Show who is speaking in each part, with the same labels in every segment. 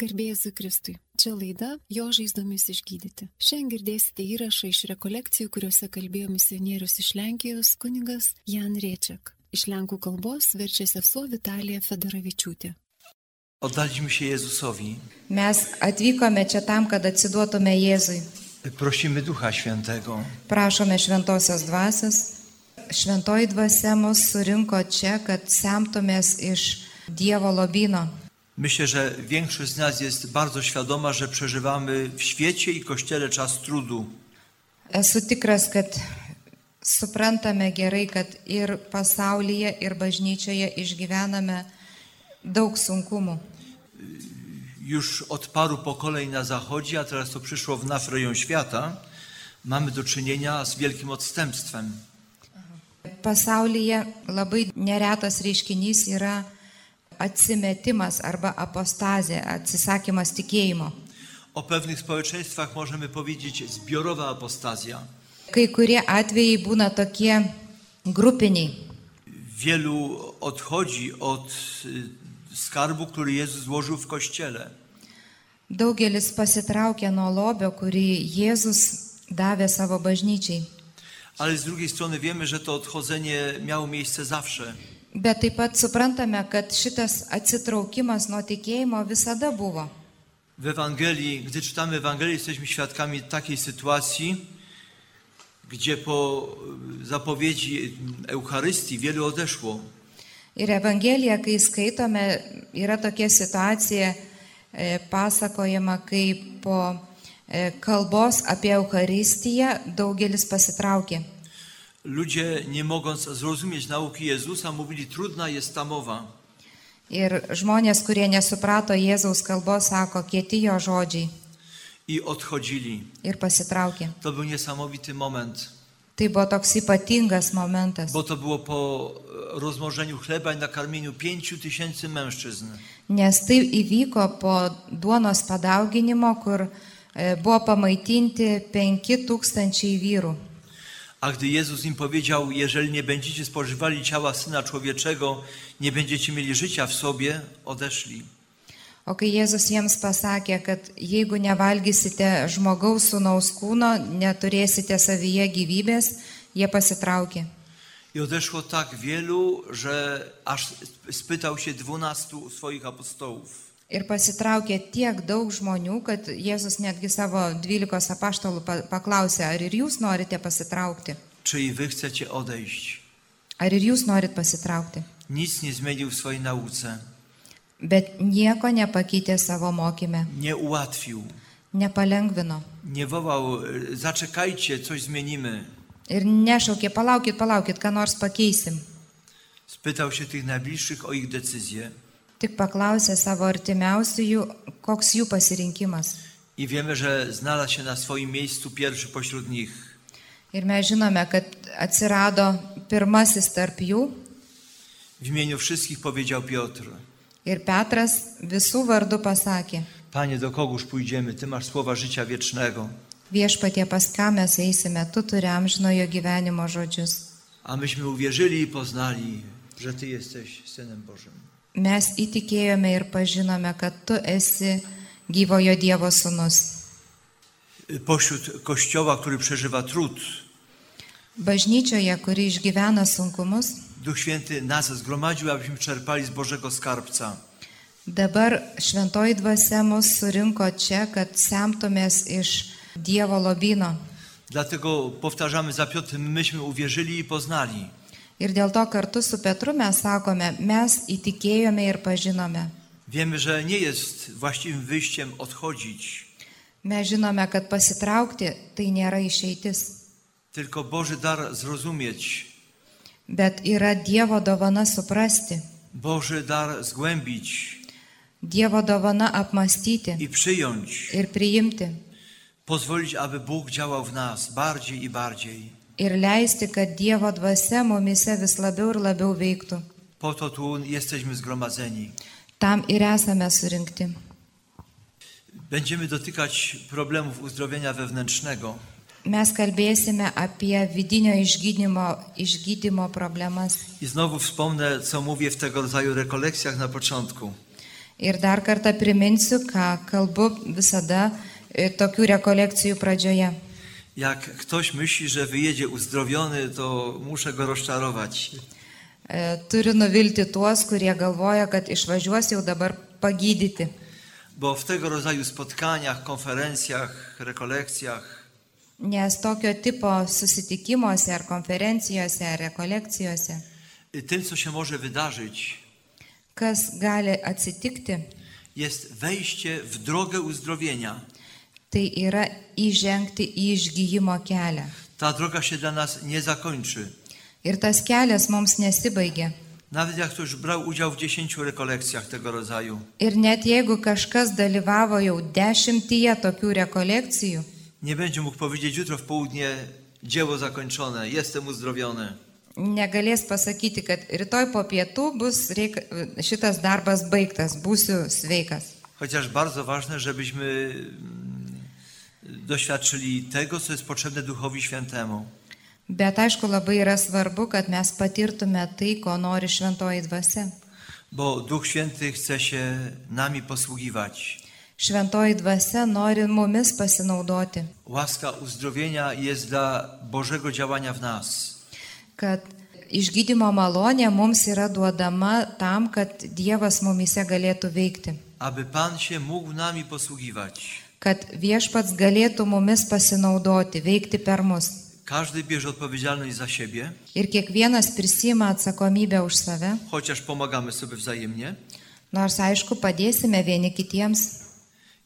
Speaker 1: Garbėjusui Kristui. Čia laida Jo žaizdomis išgydyti. Šiandien girdėsite įrašą iš rekolekcijų, kuriuose kalbėjo misionierius iš Lenkijos kuningas Jan Riečiak. Iš lenkų kalbos verčia sesuo Vitalija Fedoravičiūtė.
Speaker 2: Oddaliśmy się Jezusowi.
Speaker 3: Mes atvykome čia tam, kad atsiduotume Jėzui.
Speaker 2: Prosimy Ducha Świętego,
Speaker 3: Prašome šventosios dvasios. Šventoji dvasia mus surinko čia, kad semtumės iš Dievo lobino.
Speaker 2: Myślę, że większość z nas jest bardzo świadoma, że przeżywamy w świecie i kościele czas trudu.
Speaker 3: Esu tikras, kad suprantame gerai, kad ir pasaulyje, ir bažnyčioje išgyvename daug sunkumų.
Speaker 2: Już od paru pokoleń na Zachodzie, a teraz to przyszło w nasz rejon świata, mamy do czynienia z wielkim odstępstwem.
Speaker 3: Pasaulyje labai neretas reiškinys yra atsimetimas arba apostazė, atsisakymas tikėjimo.
Speaker 2: O pewnych społeczeństwach możemy powiedzieć zbiorowa apostazja.
Speaker 3: Kai kurie atvejai būna tokie grupiniai.
Speaker 2: Wielu odchodzi od y, skarbu, który Jezus złożył w kościele.
Speaker 3: Daugelis pasitraukė nuo lobio, kurį Jėzus davė savo bažnyčiai.
Speaker 2: Ale z drugiej strony wiemy, że to odchodzenie miało miejsce zawsze.
Speaker 3: Bet taip pat suprantame, kad šitas atsitraukimas nuo tikėjimo visada buvo.
Speaker 2: W Ewangelii, gdy czytamy Ewangelię, jesteśmy świadkami takiej sytuacji, gdzie po y, zapowiedzi Eucharystii wielu odeszło.
Speaker 3: Ir Evangelija, kai skaitome, yra tokia situacija e, pasakojama, kai po e, kalbos apie Eucharistiją daugelis pasitraukė.
Speaker 2: Ludzie, nie mogąc zrozumieć nauki Jezusa, mówili: Trudna jest ta mowa.
Speaker 3: Ir žmonės, kurie nesuprato Jėzaus kalbos, sako kieti jo žodžiai
Speaker 2: I odchodzili.
Speaker 3: ir pasitraukė.
Speaker 2: To był niesamowity moment,
Speaker 3: Tai buvo toks ypatingas momentas,
Speaker 2: bo to było po e, rozmnożeniu chleba i nakarmieniu pięciu tysięcy mężczyzn.
Speaker 3: nes tai įvyko po duonos padauginimo, kur e, buvo pamaitinti 5000 vyrų.
Speaker 2: A gdy Jezus im powiedział: Jeżeli nie będziecie spożywali ciała syna człowieczego, nie będziecie mieli życia w sobie, odeszli.
Speaker 3: O kai Jėzus jiems pasakė, kad jeigu nevalgysite žmogaus sūnaus kūno, neturėsite savyje gyvybės, jie pasitraukė.
Speaker 2: I odeszło tak wielu, że aż spytał się dwunastu swoich apostołów.
Speaker 3: Ir pasitraukė tiek daug žmonių, kad Jėzus netgi savo dvylikos apaštalų pa- paklausė, ar ir jūs norite pasitraukti.
Speaker 2: Czy i wy chcecie odejść?
Speaker 3: Ar ir jūs norit pasitraukti.
Speaker 2: Nic nie zmienił w swojej nauce,
Speaker 3: Bet nieko nepakeitė savo mokyme,
Speaker 2: nie ułatwił,
Speaker 3: nepalengvino.
Speaker 2: nie wołał: y, zaczekajcie, coś zmienimy.
Speaker 3: Ir nešaukė, palaukit, palaukit, ką nors pakeisim.
Speaker 2: Spytał się tych najbliższych o ich decyzję.
Speaker 3: Tik paklausė savo artimiausiųjų, koks jų pasirinkimas.
Speaker 2: I wiemy, że znalazł się na swoim miejscu pierwszy pośród nich.
Speaker 3: Ir mes žinome, kad atsirado pirmasis tarp jų
Speaker 2: W imieniu wszystkich powiedział Piotr:
Speaker 3: ir Petras visų vardų pasakė,
Speaker 2: Panie, do kogóż pójdziemy? Ty masz słowa życia wiecznego.
Speaker 3: viešpatie pas ką mes eisime, tu turi amžinojo gyvenimo žodžius.
Speaker 2: A myśmy uwierzyli i poznali, że Ty jesteś Synem Bożym.
Speaker 3: Mes įtikėjome ir pažinome, kad tu esi gyvojo Dievo sūnus.
Speaker 2: Pośród Kościoła, który przeżywa trud,
Speaker 3: Bažnyčioje, kuri išgyvena sunkumus,
Speaker 2: Duch Święty nas zgromadził, abyśmy czerpali z Bożego Skarbca.
Speaker 3: dabar šventoji dvasia mus surinko čia, kad semtumės iš Dievo lobino.
Speaker 2: Dlatego powtarzamy za Piotrem, myśmy uwierzyli i poznali.
Speaker 3: Ir dėl to kartu su Petru mes sakome, mes įtikėjome ir pažinome.
Speaker 2: Wiemy, że nie jest właściwym wyjściem odchodzić,
Speaker 3: Mes žinome, kad pasitraukti tai nėra išeitis,
Speaker 2: tylko Boży dar zrozumieć,
Speaker 3: bet yra Dievo dovana suprasti,
Speaker 2: Boży dar zgłębić
Speaker 3: Dievo dovana apmastyti
Speaker 2: i przyjąć.
Speaker 3: ir priimti
Speaker 2: Pozwolić, aby Bóg działał w nas bardziej i bardziej.
Speaker 3: ir leisti, kad Dievo dvasia mumise vis labiau ir labiau veiktų.
Speaker 2: Po to tu jesteśmy zgromadzeni.
Speaker 3: Tam ir esame surinkti.
Speaker 2: Będziemy dotykać problemów uzdrowienia wewnętrznego.
Speaker 3: Mes kalbėsime apie vidinio išgydymo, išgydymo problemas.
Speaker 2: I znowu wspomnę, co mówię w tego rodzaju rekolekcjach na początku.
Speaker 3: Ir dar kartą priminsiu, ką kalbu visada e, tokių rekolekcijų pradžioje.
Speaker 2: Jak ktoś myśli, że wyjedzie uzdrowiony, to muszę go rozczarować.
Speaker 3: E, Turiu nuvilti tuos, kurie galvoja, kad išvažiuos jau dabar pagydyti.
Speaker 2: Bo w tego rodzaju spotkaniach, konferencjach, rekolekcjach
Speaker 3: Nes tokio tipo susitikimuose ar konferencijose ar rekolekcijose,
Speaker 2: y, tym, co się może wydarzyć,
Speaker 3: kas gali atsitikti,
Speaker 2: jest wejście w drogę uzdrowienia.
Speaker 3: tai yra įžengti į išgyjimo kelią.
Speaker 2: Ta droga się dla nas nie zakończy.
Speaker 3: Ir tas kelias mums nesibaigia.
Speaker 2: Nawet jak ktoś brał udział w 10 rekolekcjach tego rodzaju,
Speaker 3: Ir net jeigu kažkas dalyvavo jau dešimtyje tokių rekolekcijų,
Speaker 2: nie będzie mógł powiedzieć jutro w południe dzieło zakończone, jestem uzdrowiony.
Speaker 3: negalės pasakyti, kad rytoj po pietų bus reik... šitas darbas baigtas, būsiu sveikas.
Speaker 2: Chociaż bardzo ważne, żebyśmy mm, doświadczyli tego, co jest potrzebne Duchowi Świętemu.
Speaker 3: Bet aišku, labai yra svarbu, kad mes patirtume tai, ko nori šventoji dvasia.
Speaker 2: Bo Duch Święty chce się nami posługiwać.
Speaker 3: Šventoji dvasia nori mumis pasinaudoti,
Speaker 2: Łaska uzdrowienia jest dla Bożego działania w nas.
Speaker 3: kad išgydymo malonė mums yra duodama tam, kad Dievas mumise galėtų veikti,
Speaker 2: aby Pan się mógł nami posługiwać.
Speaker 3: kad viešpats galėtų mumis pasinaudoti, veikti per mus.
Speaker 2: Każdy bierze odpowiedzialność za siebie,
Speaker 3: Ir kiekvienas prisima atsakomybę už save,
Speaker 2: chociaż pomagamy sobie wzajemnie
Speaker 3: nors aišku, padėsime vieni kitiems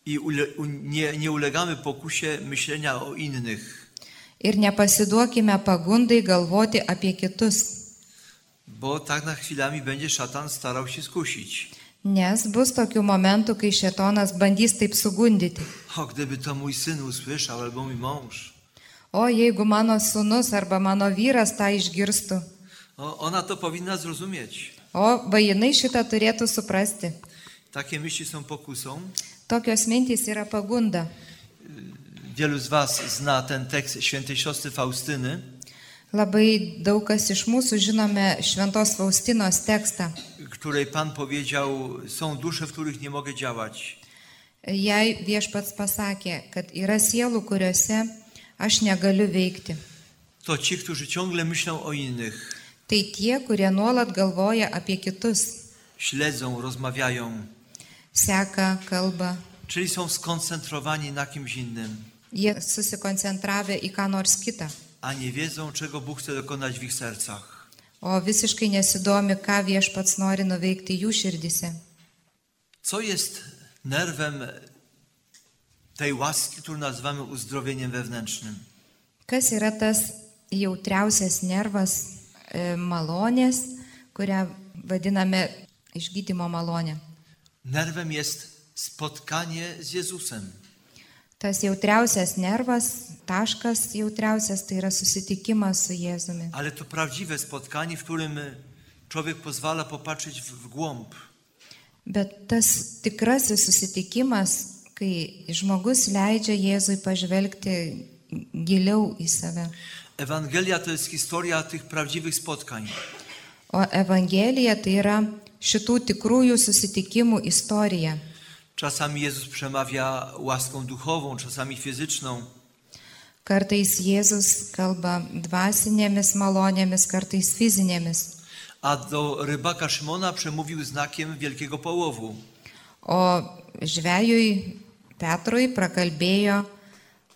Speaker 2: i ule, u, nie, nie ulegamy pokusie myślenia o innych,
Speaker 3: ir nepasiduokime pagundai galvoti apie kitus,
Speaker 2: bo tak na chwilami będzie szatan starał się skusić.
Speaker 3: nes bus tokių momentų, kai šetonas bandys taip sugundyti.
Speaker 2: O, gdyby to mój syn usłyszał albo mój mąż.
Speaker 3: O jeigu mano sunus arba mano vyras tą išgirstų,
Speaker 2: O, ona to powinna zrozumieć.
Speaker 3: o vainai šitą turėtų suprasti.
Speaker 2: Takie myśli są pokusą.
Speaker 3: Tokios mintys yra pagunda.
Speaker 2: Wielu z Was zna ten tekst świętej siostry Faustyny,
Speaker 3: Labai daug kas iš mūsų žinome Šventos Faustinos tekstą.
Speaker 2: której Pan powiedział: Są dusze, w których nie mogę działać.
Speaker 3: Jei viešpats pasakė, kad yra sielų, kuriuose aš negaliu veikti.
Speaker 2: To ci, którzy ciągle myślą o innych,
Speaker 3: Tai tie, kurie nuolat galvoja apie kitus,
Speaker 2: śledzą, rozmawiają,
Speaker 3: seka kalbą,
Speaker 2: czyli są skoncentrowani na kimś innym,
Speaker 3: jie susikoncentravę į ką nors kitą,
Speaker 2: a nie wiedzą, czego Bóg chce dokonać w ich sercach.
Speaker 3: o visiškai nesidomi, ką viešpats nori nuveikti jų širdise.
Speaker 2: Co jest nerwem tej łaski, którą nazywamy uzdrowieniem wewnętrznym?
Speaker 3: Kas yra tas jautriausias nervas e, malonės, kurią vadiname išgydymo malonė?
Speaker 2: Nerwem jest spotkanie z Jezusem.
Speaker 3: Tas jautriausias nervas, taškas jautriausias, tai yra susitikimas su Jėzumi.
Speaker 2: Ale to prawdziwe spotkanie, w którym człowiek pozwala popatrzeć w, w głąb,
Speaker 3: Bet tas tikrasis susitikimas, kai žmogus leidžia Jėzui pažvelgti giliau į save.
Speaker 2: Ewangelia to jest historia tych prawdziwych spotkań.
Speaker 3: O Evangelija tai yra šitų tikrųjų susitikimų istorija.
Speaker 2: Czasami Jezus przemawia łaską duchową, czasami fizyczną,
Speaker 3: Kartais Jėzus kalba dvasinėmis malonėmis, kartais fizinėmis.
Speaker 2: a do rybaka Szymona przemówił znakiem wielkiego połowu.
Speaker 3: O žvėjui Petrui prakalbėjo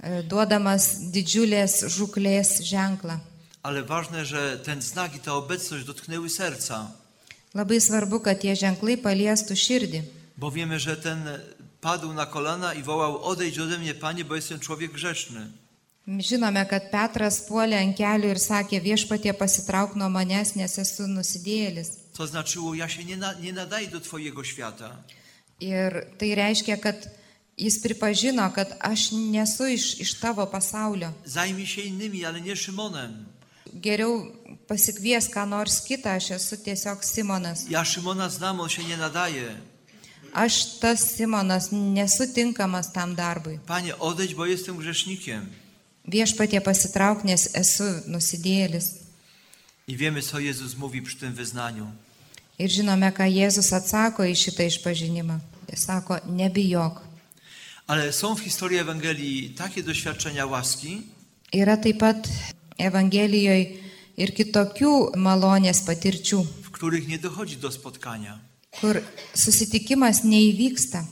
Speaker 3: e, duodamas didžiulės žuklės ženklą.
Speaker 2: Ale ważne, że ten znak i ta obecność dotknęły serca,
Speaker 3: Labai svarbu, kad tie ženklai paliestų širdį.
Speaker 2: bo wiemy, że ten padł na kolana i wołał: Odejdź ode mnie, panie, bo jestem człowiek grzeszny.
Speaker 3: Žinome, kad Petras puolė ant kelių ir sakė, viešpatie pasitrauk nuo manęs, nes esu nusidėjėlis.
Speaker 2: To znaczyło: Ja się nie, na, nie nadaję do Twojego świata.
Speaker 3: Ir tai reiškia, kad jis pripažino, kad aš nesu iš, iš tavo pasaulio.
Speaker 2: Zajmij się innymi, ale nie Szymonem.
Speaker 3: Geriau pasikvies ką nors kitą, aš esu tiesiog Simonas.
Speaker 2: Ja Szymona znam, on się nie nadaje.
Speaker 3: Aš tas Simonas nesu tinkamas tam darbui.
Speaker 2: Panie, odejdź, bo jestem grzesznikiem.
Speaker 3: Viešpatie pasitrauk, nes esu nusidėjėlis.
Speaker 2: I wiemy, co Jezus mówi przy tym wyznaniu.
Speaker 3: Ir žinome, ką Jėzus atsako į šitą išpažinimą. pasaulį. Sako, nebijok.
Speaker 2: Ale są w historii Ewangelii takie doświadczenia łaski,
Speaker 3: Yra taip pat Evangelijoje ir kitokių malonės patirčių,
Speaker 2: w których nie dochodzi do spotkania.
Speaker 3: kur susitikimas neįvyksta.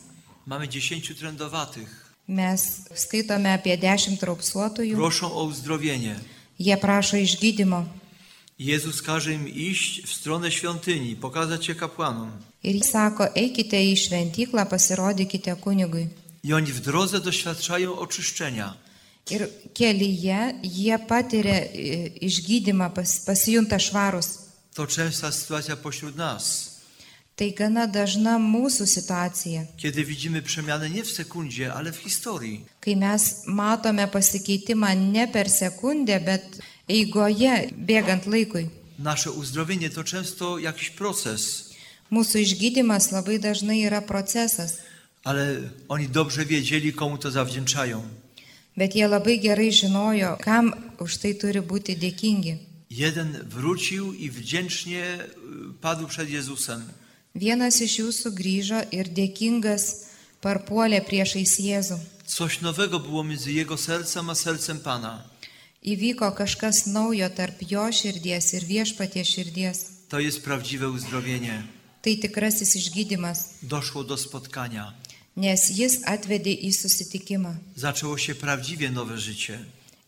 Speaker 2: Mamy dziesięciu trędowatych.
Speaker 3: Mes skaitome apie dešimt raupsuotųjų,
Speaker 2: Proszą o uzdrowienie.
Speaker 3: jie prašo išgydymo
Speaker 2: Jezus każe im iść w stronę świątyni, pokazać się kapłanom.
Speaker 3: ir jis sako, eikite į šventyklą, pasirodykite kunigui.
Speaker 2: I oni w drodze doświadczają oczyszczenia.
Speaker 3: Ir kelyje jie patiria e, išgydymą, pas, pasijunta švarus.
Speaker 2: To częsta sytuacja pośród nas,
Speaker 3: Tai gana dažna mūsų situacija,
Speaker 2: kiedy widzimy przemianę nie w sekundzie, ale w historii.
Speaker 3: kai mes matome pasikeitimą ne per sekundę, bet eigoje, bėgant laikui.
Speaker 2: Nasze uzdrowienie to często jakiś proces,
Speaker 3: Mūsų išgydymas labai dažnai yra procesas,
Speaker 2: ale oni dobrze wiedzieli, komu to zawdzięczają.
Speaker 3: bet jie labai gerai žinojo, kam už tai turi būti dėkingi.
Speaker 2: Jeden wrócił i wdzięcznie y, padł przed Jezusem.
Speaker 3: Vienas iš jų sugrįžo ir dėkingas parpuolė priešais Jėzų.
Speaker 2: Coś nowego było między jego sercem a sercem Pana.
Speaker 3: Įvyko kažkas naujo tarp jo širdies ir viešpatie širdies.
Speaker 2: To jest prawdziwe uzdrowienie.
Speaker 3: Tai tikrasis išgydymas,
Speaker 2: Doszło do spotkania.
Speaker 3: nes jis atvedė į susitikimą.
Speaker 2: Zaczęło się prawdziwie nowe życie.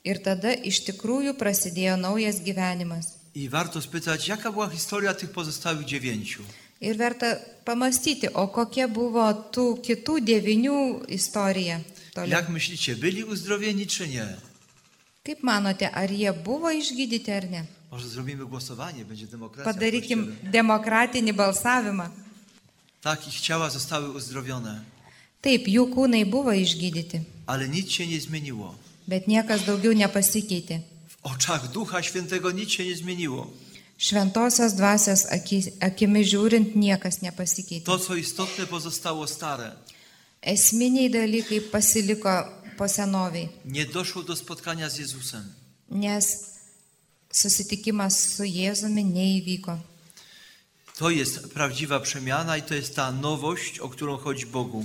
Speaker 3: Ir tada iš tikrųjų prasidėjo naujas gyvenimas.
Speaker 2: I warto spytać, jaka była historia tych pozostałych dziewięciu.
Speaker 3: Ir verta pamastyti, o kokia buvo tų kitų devinių istorija. Toliau.
Speaker 2: Jak myślicie, byli uzdrowieni czy nie?
Speaker 3: Kaip manote, ar jie buvo išgydyti ar ne?
Speaker 2: Może zrobimy głosowanie, będzie demokracja. w
Speaker 3: Padarykim
Speaker 2: kościele.
Speaker 3: demokratinį balsavimą.
Speaker 2: Tak, ich ciała zostały uzdrowione,
Speaker 3: Taip, jų kūnai buvo išgydyti,
Speaker 2: ale nic się nie zmieniło.
Speaker 3: bet niekas daugiau nepasikeitė.
Speaker 2: W oczach Ducha Świętego nic się nie zmieniło.
Speaker 3: Šventosios dvasios aki- akimi žiūrint niekas nepasikeitė.
Speaker 2: To, co istotne, pozostało stare.
Speaker 3: Esminiai dalykai pasiliko po senoviai,
Speaker 2: Nie doszło do spotkania z Jezusem.
Speaker 3: nes susitikimas su Jėzumi neįvyko.
Speaker 2: To jest prawdziwa przemiana i to jest ta nowość, o którą chodzi Bogu.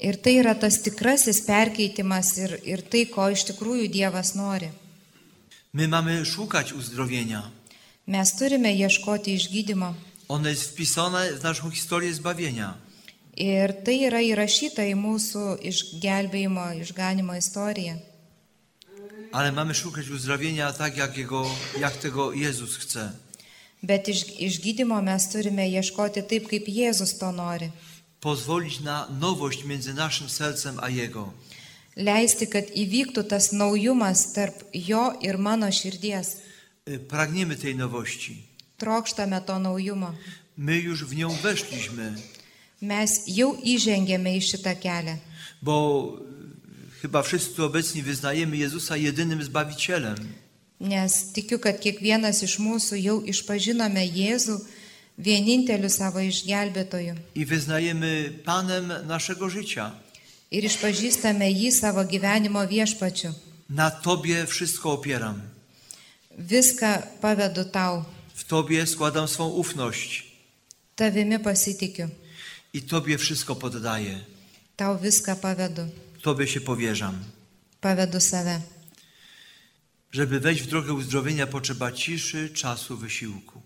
Speaker 3: Ir tai yra tas tikrasis perkeitimas ir, ir tai, ko iš tikrųjų Dievas nori.
Speaker 2: My mamy szukać uzdrowienia.
Speaker 3: Mes turime ieškoti išgydymo.
Speaker 2: Ono jest wpisane w naszą historię zbawienia.
Speaker 3: Ir tai yra įrašyta į mūsų išgelbėjimo, išganimo istoriją.
Speaker 2: Ale mamy szukać uzdrowienia tak, jak, jego, jak tego Jezus chce.
Speaker 3: Bet iš, išgydymo mes turime ieškoti taip, kaip Jėzus to nori.
Speaker 2: Pozwolić na nowość między naszym sercem a Jego.
Speaker 3: Leisti, kad įvyktų tas naujumas tarp jo ir mano širdies.
Speaker 2: Y, Pragniemy tej nowości.
Speaker 3: Trokštame to naujumo.
Speaker 2: My już w nią weszliśmy,
Speaker 3: Mes jau įžengėme į šitą kelią.
Speaker 2: bo y, chyba wszyscy tu obecni wyznajemy Jezusa jedynym Zbawicielem.
Speaker 3: Nes tikiu, kad kiekvienas iš mūsų jau išpažinome Jėzų vieninteliu savo išgelbėtoju
Speaker 2: i wyznajemy Panem naszego życia.
Speaker 3: ir išpažįstame jį savo gyvenimo viešpačiu.
Speaker 2: Na Tobie wszystko opieram.
Speaker 3: Viską pavedu tau,
Speaker 2: W Tobie składam swą ufność
Speaker 3: tavimi pasitikiu,
Speaker 2: i Tobie wszystko poddaję.
Speaker 3: tau viską pavedu,
Speaker 2: Tobie się powierzam.
Speaker 3: pavedu save.
Speaker 2: Żeby wejść w drogę uzdrowienia, potrzeba ciszy, czasu, wysiłku.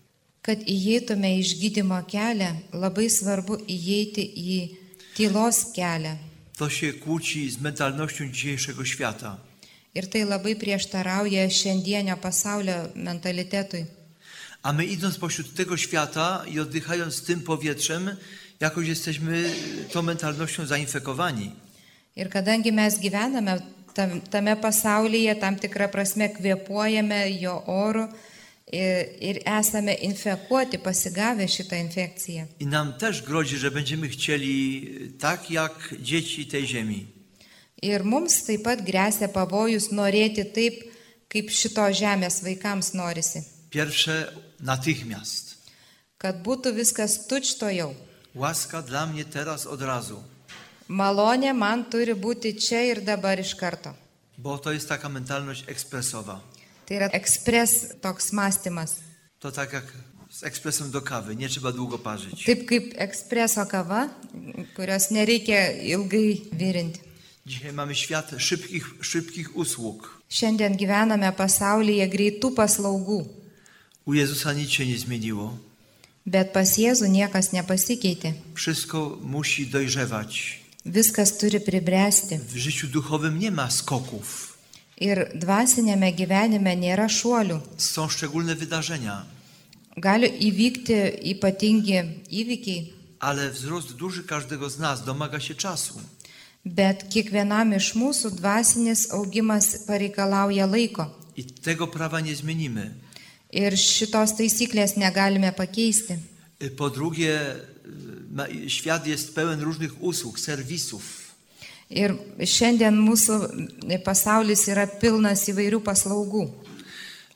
Speaker 3: Kad įeitume į išgydymo kelią, labai svarbu įeiti į tylos kelią.
Speaker 2: To się kłóci z mentalnością dzisiejszego świata.
Speaker 3: Ir tai labai prieštarauja šiandienio pasaulio mentalitetui.
Speaker 2: A my idąc pośród tego świata i oddychając tym powietrzem, jakoś jesteśmy tą mentalnością zainfekowani.
Speaker 3: Ir kadangi mes gyvename tam- tame pasaulyje, tam tikrą prasme kvepuojame jo oru ir, ir esame infekuoti, pasigavę šitą infekciją.
Speaker 2: I nam też grozi, że będziemy chcieli tak jak dzieci tej ziemi.
Speaker 3: Ir mums taip pat grėsia pavojus norėti taip, kaip šito žemės vaikams norisi.
Speaker 2: Pierwsze natychmiast.
Speaker 3: Kad būtų viskas tučto jau.
Speaker 2: Łaska dla mnie teraz od razu,
Speaker 3: Malonė man turi būti čia ir dabar iš karto.
Speaker 2: bo to jest taka mentalność ekspresowa.
Speaker 3: Tai yra ekspres toks mąstymas.
Speaker 2: To tak jak z ekspresem do kawy, nie trzeba długo parzyć.
Speaker 3: Taip kaip ekspreso kava, kurios nereikia ilgai virinti.
Speaker 2: Dzisiaj mamy świat szybkich, szybkich usług.
Speaker 3: Šiandien gyvename pasaulyje greitų paslaugų,
Speaker 2: U Jezusa nic się nie zmieniło.
Speaker 3: bet pas Jėzų niekas nepasikeitė.
Speaker 2: Wszystko musi dojrzewać.
Speaker 3: Viskas turi pribręsti.
Speaker 2: W życiu duchowym nie ma skoków.
Speaker 3: Ir dvasinėme gyvenime nėra šuolių.
Speaker 2: Są szczególne wydarzenia,
Speaker 3: Gali įvykti ypatingi įvykiai,
Speaker 2: ale wzrost duży każdego z nas domaga się czasu.
Speaker 3: bet kiekvienam iš mūsų dvasinis augimas pareikalauja laiko.
Speaker 2: I tego prawa nie zmienimy.
Speaker 3: Ir šitos taisyklės negalime pakeisti.
Speaker 2: Y, Po drugie, y, ma- y, świat jest pełen różnych usług, serwisów.
Speaker 3: Ir šiandien mūsų pasaulis yra pilnas įvairių paslaugų.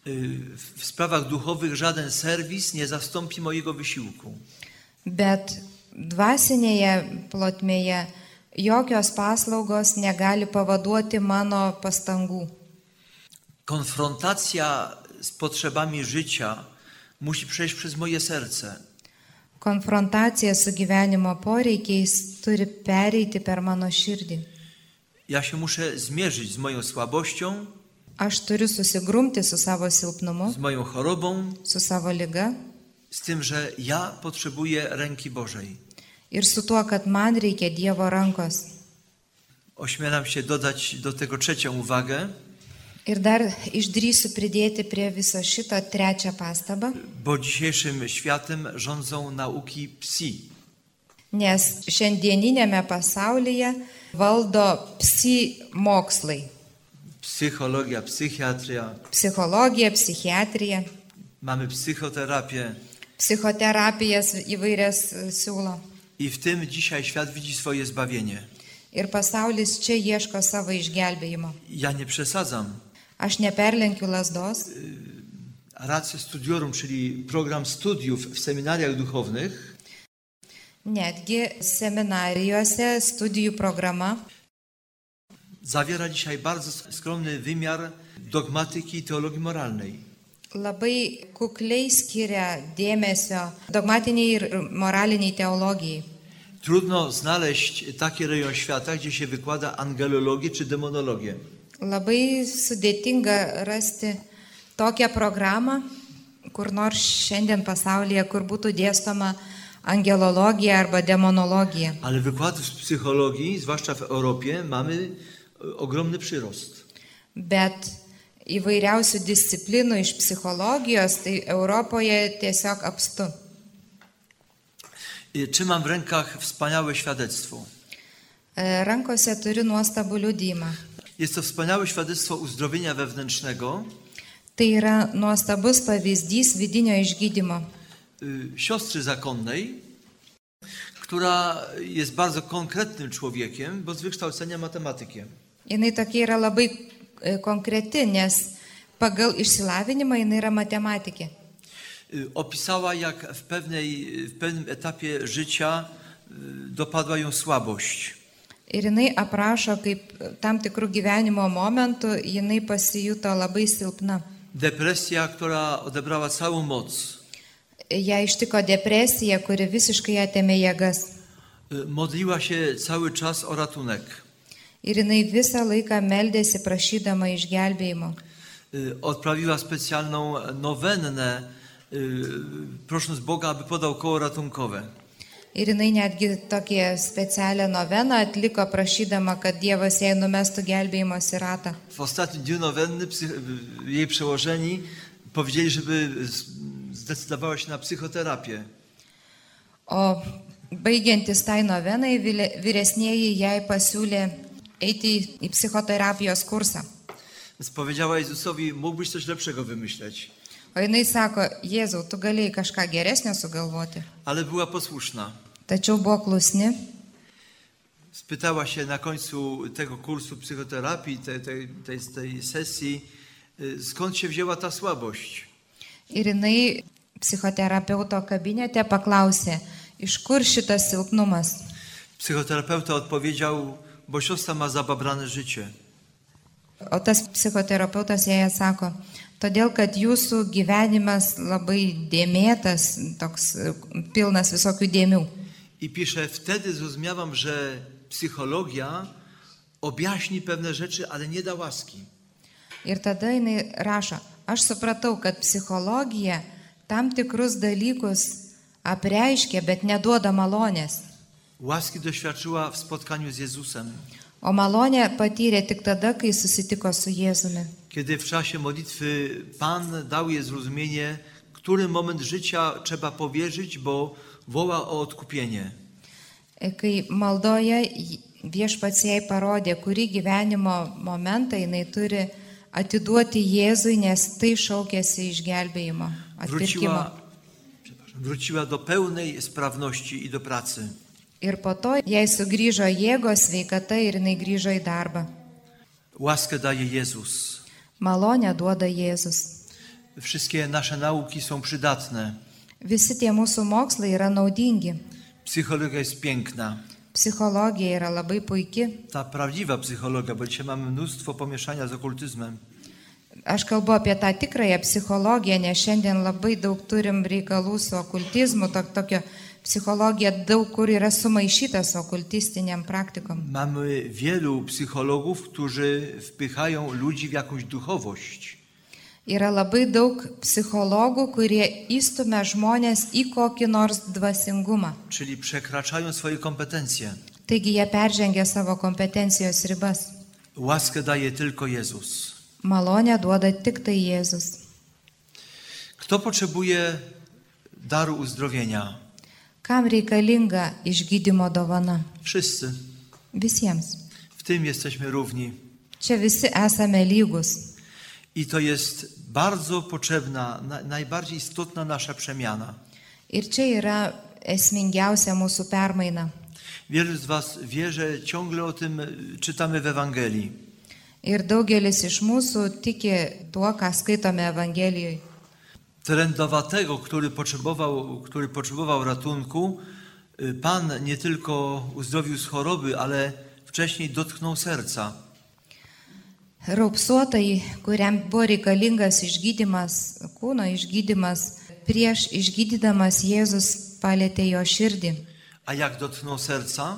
Speaker 2: Y, w- W sprawach duchowych żaden serwis nie zastąpi mojego wysiłku.
Speaker 3: Bet dvasinėje plotmėje jokios paslaugos negali pavaduoti mano pastangų.
Speaker 2: Konfrontacja z potrzebami życia musi przejść przez moje serce.
Speaker 3: Konfrontacija su gyvenimo poreikiais turi pereiti per mano širdį.
Speaker 2: Ja się muszę zmierzyć z moją słabością,
Speaker 3: Aš turiu susigrumti su savo silpnumu,
Speaker 2: z moją chorobą,
Speaker 3: su savo lyga
Speaker 2: z tym, że ja potrzebuję ręki Bożej.
Speaker 3: ir su tuo, kad man reikia Dievo rankos.
Speaker 2: Ośmielam się dodać do tego trzecią uwagę,
Speaker 3: Ir dar išdrysiu pridėti prie viso šito trečią pastabą,
Speaker 2: bo dzisiejszym światem rządzą nauki psi.
Speaker 3: nes šiandieninėme pasaulyje valdo psi mokslai
Speaker 2: Psychologia, psychiatria,
Speaker 3: - psichologija, psichiatrija,
Speaker 2: mamy psychoterapię
Speaker 3: psichoterapijas įvairias e, siūlo.
Speaker 2: i w tym dzisiaj świat widzi swoje zbawienie.
Speaker 3: Ir pasaulis čia ieško savo išgelbėjimo.
Speaker 2: Ja nie przesadzam.
Speaker 3: Aš neperlenkiu lasdos,
Speaker 2: Rację studiorum, czyli program studiów w seminariach duchownych,
Speaker 3: netgi seminarijose studijų programa
Speaker 2: zawiera dzisiaj bardzo skromny wymiar dogmatyki i teologii moralnej.
Speaker 3: labai kukliai skiria dėmesio dogmatiniai ir moraliniai teologijai.
Speaker 2: Trudno znaleźć taki rejon świata, gdzie się wykłada angelologię czy demonologię.
Speaker 3: Labai sudėtinga rasti tokią programą, kur nors šiandien pasaulyje, kur būtų dėstoma angelologija arba demonologija.
Speaker 2: Ale wykładów z psychologii, zwłaszcza w Europie, mamy e, ogromny przyrost.
Speaker 3: Bet įvairiausių disciplinų iš psichologijos, tai Europoje tiesiog apstu.
Speaker 2: E, Czy mam w rękach wspaniałe świadectwo?
Speaker 3: E, Rankose turiu nuostabų liudymą.
Speaker 2: Jest to wspaniałe świadectwo uzdrowienia wewnętrznego.
Speaker 3: Tai yra nuostabus pavyzdys vidinio išgydymo.
Speaker 2: y, siostry zakonnej, która jest bardzo konkretnym człowiekiem, bo z wykształcenia matematykiem.
Speaker 3: Jis tokia yra labai e, konkreti, nes pagal išsilavinimą jinai yra matematikė.
Speaker 2: Y, Opisała, jak w, pewnej, w pewnym etapie życia y, dopadła ją słabość.
Speaker 3: Ir jinai aprašo, kaip tam tikrų gyvenimo momentų jinai pasijuto labai silpna.
Speaker 2: Depresja, która odebrała całą moc.
Speaker 3: Ją ištiko depresija, kuri visiškai atėmė jėgas.
Speaker 2: Y, Modliła się cały czas o ratunek.
Speaker 3: Ir jinai visą laiką meldėsi prašydama išgelbėjimo.
Speaker 2: Y, Odprawiła specjalną nowennę, y, prosząc Boga, aby podał koło ratunkowe.
Speaker 3: Ir jinai netgi tokią specialią noveną atliko prašydama, kad Dievas jai numestų gelbėjimosi ratą.
Speaker 2: W ostatnim dniu nowenny psych- jej przełożeni powiedzieli, żeby z- zdecydowała się na psychoterapię.
Speaker 3: O baigiantis tai novenai, vile- vyresnieji jai pasiūlė eiti į- į psichoterapijos kursą.
Speaker 2: Więc powiedziała Jezusowi, mógłbyś coś lepszego wymyśleć.
Speaker 3: O jinai sako, Jėzau, tu galėjai kažką geresnio sugalvoti.
Speaker 2: Ale była posłuszna.
Speaker 3: Tačiau buvo klusni
Speaker 2: Spytała się na końcu tego kursu psychoterapii, tej, tej, tej, tej sesji, y, skąd się wzięła ta słabość.
Speaker 3: ir jinai psichoterapeuto kabinete paklausė, iš kur šitas silpnumas.
Speaker 2: Psychoterapeuta odpowiedział, bo siostra ma zababrane życie.
Speaker 3: O tas psichoterapeutas jai atsako, Todėl, kad jūsų gyvenimas labai dėmėtas, toks e, pilnas visokių dėmių.
Speaker 2: I pisze, wtedy zrozumiałam, że psychologia objaśni pewne rzeczy, ale nie da łaski.
Speaker 3: Ir tada jinai rašo, aš supratau, kad psichologija tam tikrus dalykus apreiškia, bet neduoda malonės.
Speaker 2: Łaski doświadczyła w spotkaniu z Jezusem,
Speaker 3: O malonę patyrė tik tada, kai susitiko su Jėzumi.
Speaker 2: kiedy w czasie modlitwy Pan dał jej zrozumienie, który moment życia trzeba powierzyć, bo woła o odkupienie.
Speaker 3: E, Kai maldoje ji- viešpats jai parodė, kurį gyvenimo momentą jinai turi atiduoti Jėzui, nes tai šaukėsi išgelbėjimo, atpirkimo.
Speaker 2: Wróciła, przepraszam, wróciła do pełnej sprawności i do pracy.
Speaker 3: Ir po to jai sugrįžo jėgos, sveikata ir jinai grįžo į darbą.
Speaker 2: Łaskę daje Jezus.
Speaker 3: Malonę duoda Jėzus.
Speaker 2: Wszystkie nasze nauki są przydatne.
Speaker 3: Visi tie mūsų mokslai yra naudingi.
Speaker 2: Psychologia jest piękna.
Speaker 3: Psichologija yra labai puikia.
Speaker 2: Ta prawdziwa psychologia, bo dzisiaj mamy mnóstwo pomieszania z okultyzmem.
Speaker 3: Aš kalbu apie tą tikrąją psichologiją, nes šiandien labai daug turim reikalų su okultizmu, to, tokio psichologija daug kur yra sumaišyta su okultistiniam praktikom.
Speaker 2: Mamy wielu psychologów, którzy wpychają ludzi w jakąś duchowość.
Speaker 3: Yra labai daug psichologų, kurie įstumia žmonės į kokį nors dvasingumą.
Speaker 2: czyli przekraczają swoje kompetencje.
Speaker 3: Taigi jie peržengia savo kompetencijos ribas.
Speaker 2: Łaskę daje tylko Jezus.
Speaker 3: Malonę duoda tik tai Jėzus.
Speaker 2: Kto potrzebuje daru uzdrowienia?
Speaker 3: Kam reikalinga išgydymo dovana?
Speaker 2: Wszyscy.
Speaker 3: Visiems.
Speaker 2: W tym jesteśmy równi.
Speaker 3: Čia visi esame lygus.
Speaker 2: I to jest bardzo potrzebna, na, najbardziej istotna nasza przemiana.
Speaker 3: Ir čia yra esmingiausia mūsų permaina.
Speaker 2: Wielu z Was wie, że ciągle o tym y, czytamy w Ewangelii.
Speaker 3: Ir daugelis iš mūsų tiki tuo, ką skaitome Evangelijoje.
Speaker 2: Trędowatego, który potrzebował, który potrzebował ratunku, y, Pan nie tylko uzdrowił z choroby, ale wcześniej dotknął serca.
Speaker 3: Raupsuotai, kuriam buvo reikalingas išgydymas, kūno išgydymas, prieš išgydydamas Jėzus palėtė jo širdį.
Speaker 2: A jak dotknął serca?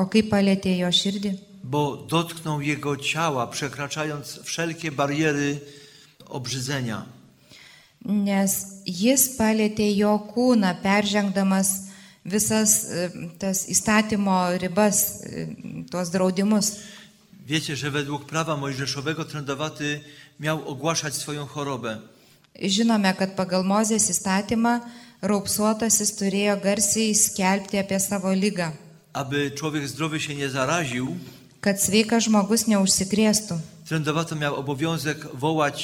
Speaker 3: O kaip palėtė jo širdį?
Speaker 2: Bo dotknął jego ciała, przekraczając wszelkie bariery obrzydzenia.
Speaker 3: Nes jis palėtė jo kūną, peržengdamas visas e, tas įstatymo ribas, e, tuos draudimus.
Speaker 2: Wiecie, że według prawa mojżeszowego trędowaty miał ogłaszać swoją chorobę.
Speaker 3: Žinome, kad pagal Mozės įstatymą raupsuotasis turėjo garsiai skelbti apie savo lygą,
Speaker 2: Aby człowiek zdrowy się nie zaraził,
Speaker 3: kad sveikas žmogus neužsikrėstų.
Speaker 2: trędowaty miał obowiązek wołać